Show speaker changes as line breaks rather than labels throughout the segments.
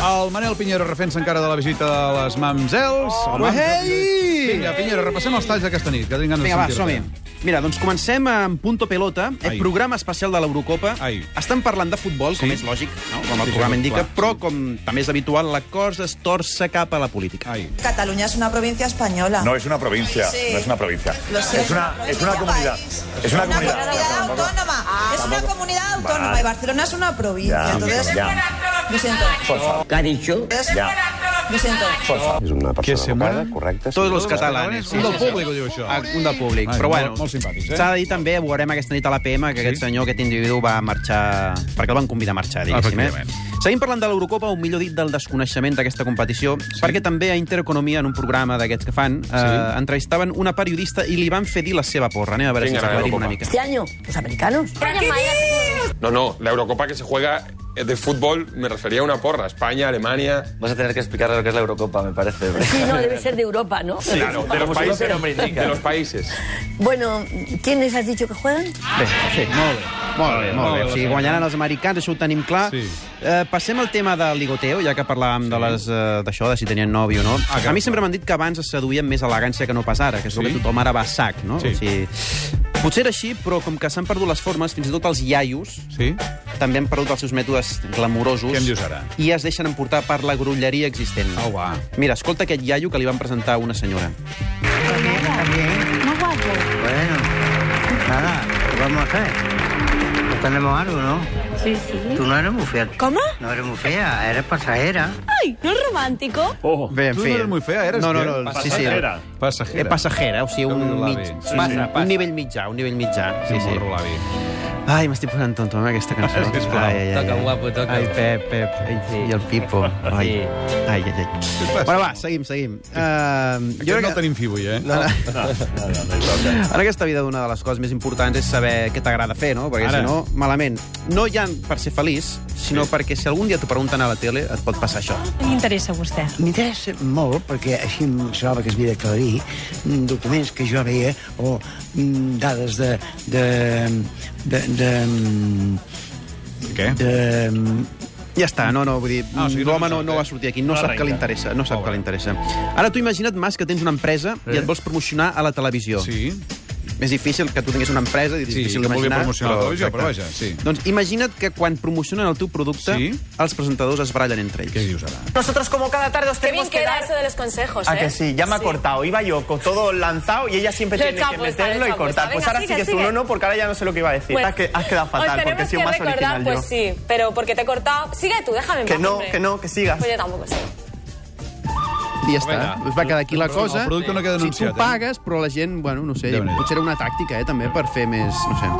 El Manel Pinheiro refent encara de la visita de les Mamsels.
Oh,
Home,
Uehei!
Vinga, Pinheiro, repassem els talls d'aquesta nit, que tinc ganes
Vinga, va,
de
som-hi.
sentir-te.
Mira, doncs comencem amb Punto Pelota, eh,
Ai.
programa especial de l'Eurocopa.
Ai.
Estan parlant de futbol, com
Sí.
és lògic, no? com
Sí,
el
sí,
programa indica,
clar.
però com també és habitual, la cosa es torça cap a la política.
Ai.
Cataluña es una provincia española.
No es una provincia,
Sí.
no es una provincia.
Lo sé.
Es una, es una comunidad.
país.
Es una comunidad. Tampoco-
autónoma. es una
tampoco-
comunidad autónoma
Vale.
y Barcelona es una provincia.
Ya,
Entonces,
ya.
lo siento.
Por favor,
¿Qué ha dicho?
Entonces,
ya.
Lo siento.
Por favor.
És una
Què,
persona
sembla?
educada, correcta.
Tots els
seriosa.
catalans.
Un del públic ho diu, això.
Ah, Un del públic.
Ai,
Però
molt-
bueno,
molt simpàtics, eh?
s'ha de dir també, ho veurem aquesta nit a l'APM, que aquest senyor, aquest individu, va marxar... Perquè el van convidar a marxar, diguéssim. Eh?
Efectivament.
Seguim parlant de l'Eurocopa, o millor dit, del desconeixement d'aquesta competició, perquè també a Intereconomia, en un programa d'aquests que fan, eh, entrevistaven una periodista i li van fer dir la seva porra. Anem a veure
Quin
si ens
gran
aclarim
Eurocopa.
una mica.
Este año, los americanos.
No, no, la Eurocopa que se juega eh, de fútbol me refería a una porra. España, Alemania.
Vas a tener que explicarles lo que es la Eurocopa, me parece.
Sí, no, debe ser de Europa, ¿no?
Claro, de los
Como su
países.
propio nombre indica.
De los países.
Bueno, ¿quiénes has dicho que juegan?
Bé, sí. Molt bé. Molt bé, molt bé. O sigui,
Molt bé.
guanyaran els americans, això ho tenim clar.
Sí.
Eh, passem al tema del ligoteo, ja que parlàvem sí. de les eh, d'això, de si tenien nòvio o no.
Ah, clar.
a mi sempre m'han dit que abans es seduïen més elegància que no pas ara, que és el
Sí?
que tothom ara va a sac, no?
Sí.
O sigui, potser era així, però com que s'han perdut les formes, fins i tot els iaios
Sí?
també han perdut els seus mètodes glamurosos.
Què em dius ara? Oh,
I es deixen emportar per la grolleria existent.
Au, va.
Mira, escolta aquest iaio que li van presentar una senyora.
Bueno, nada, ¿qué vamos a hacer? Pues Tenemos algo, ¿no?
Sí, sí.
Tú no eres muy fea.
¿Cómo?
No eres muy fea, eres pasajera.
¡Ay! ¿No es romántico?
Bé, en
Tu no
fi.
eres muy fea, eres
No, no,
bien.
no. Sí, sí.
Pasajera.
Eh,
Passajera.
passajera, o sigui,
Déu-n'hi-do,
un,
l'avi.
mig,
Sí,
passa,
sí.
un nivell mitjà, un nivell mitjà. Sí, sí.
l'avi.
Ai, m'estic posant tonto amb aquesta cançó.
Ah, sisplau.
ai, ai, ai.
Toca, guapo, toca.
Ai, Pep, Pep. Ai, sí. I el Pipo. Ai, sí. ai, ai. ai. Bueno, va, seguim, seguim. Uh,
Jo no el tenim fi avui, eh?
No. En aquesta vida una de les coses més importants és saber què t'agrada fer, no? Perquè
Ara.
si no, malament. No ja per ser feliç, sinó sí. perquè si algun dia t'ho pregunten a la tele et pot passar això.
Me interesa usted.
M'interessa molt, perquè així em semblava que es havia d'aclarir mm, documents que jo veia o mm, dades de... de, de, de,
Què?
de, mm,
Ja està, no, no, vull dir,
Ah,
ah,
o
o
sigui, no
l'home
sap,
no, no
eh?
va sortir aquí, no sap què li interessa, no sap
Pobre.
què li interessa. Ara tu imagina't, Mas, que tens una empresa i et vols promocionar a la televisió.
Sí.
Més difícil que tu tinguis una empresa, és
Sí,
difícil
que vulgui
d'imaginar.
promocionar la televisió, però
exacte.
vaja, sí.
Doncs imagina't que quan promocionen el teu producte,
Sí.
els presentadors es barallen entre ells.
Què dius ara?
Nosotros como cada tarde os
Qué bien queda eso de los consejos, ¿eh?
A Ah, que sí, ya me ha cortado. Iba yo con todo lanzado y ella siempre
El
tiene que
capo está, el
meterlo y
capo
cortar.
está.
Pues
Venga,
ahora sí
sigue,
que tú
sigue.
no, no, porque ahora ya no sé lo que iba a decir.
Pues,
has, Ah, que- has quedado
os
fatal,
tenemos
porque he sido
que
más
recordar,
original
pues
yo.
sí, pero porque te he cortado... Sigue tú, déjame en
Que
paz,
no,
hombre.
que no, que sigas.
Pues yo tampoco sé.
I ja està. Es va quedar aquí la cosa.
El producte no queda
si tu
anunciat, eh?
pagues, però la gent, bueno, no sé,
Déu-n'hi-do.
potser era una tàctica, eh, també, per fer més, no sé.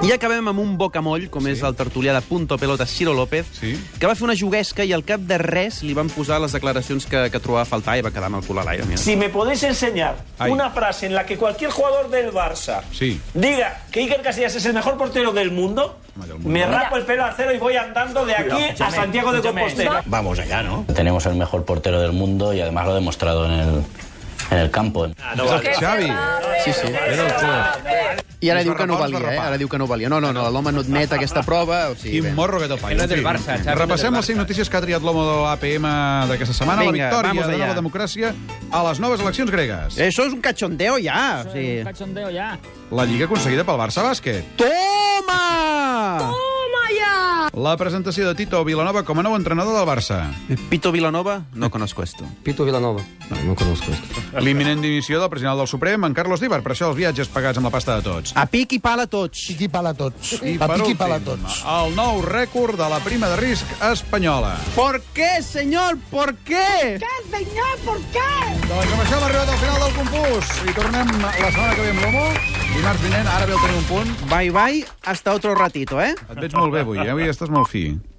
I acabem amb un bocamoll, com sí. és el tertulià de Punto Pelota, Ciro López,
Sí.
que va fer una juguesca i al cap de res li van posar les declaracions que, que trobava a faltar i va quedar amb el cul a l'aire. mira.
Si me podéis enseñar
Ay. una
frase en la que cualquier jugador del Barça
Sí.
diga que Iker Casillas es el mejor portero del mundo,
Home, del mundo. me
rapo el pelo al cero y voy andando de aquí a Santiago de Compostela.
Vamos allá, ¿no?
Tenemos el mejor portero del mundo y además lo ha demostrado en el, en el campo.
Ah,
És el Xavi.
Sí, sí. I ara
Es
diu
va
que no
rapar, es va
valia, eh?
rapar.
Ara diu que no valia. No, no, no, l'home no admet aquesta prova. O sigui,
Quin
bé.
morro que té el paio.
no és del
Sí.
Barça, Xavi, no és
Repassem
del
les 5 notícies que ha triat l'home de l'APM d'aquesta setmana.
Vinga,
la victòria
vamos Eh.
de
allá.
la democràcia a les noves eleccions gregues.
Això és un cachondeo ja. O sigui...
La lliga aconseguida pel Barça Bàsquet.
Toma!
La presentació de Tito Vilanova com a nou entrenador del Barça.
Pito Vilanova, no conozco esto.
Pito Villanova. No, no conozco esto.
L'imminent dimissió del president del Suprem, en Carlos Díbar, per això els viatges pagats amb la pasta de tots.
A pic i pala tots.
Piqui pala a tots.
I per últim, el nou rècord de la prima de risc espanyola.
¿Por qué, señor? ¿Por qué?
Doncs amb això hem arribat al final del concurs. I tornem la setmana que ve amb l'Homo. Dimarts vinent, ara ve el tenir un punt.
Bye, bye. Hasta otro ratito, ¿eh?
Et veig molt bé avui, eh? Avui estàs molt fi.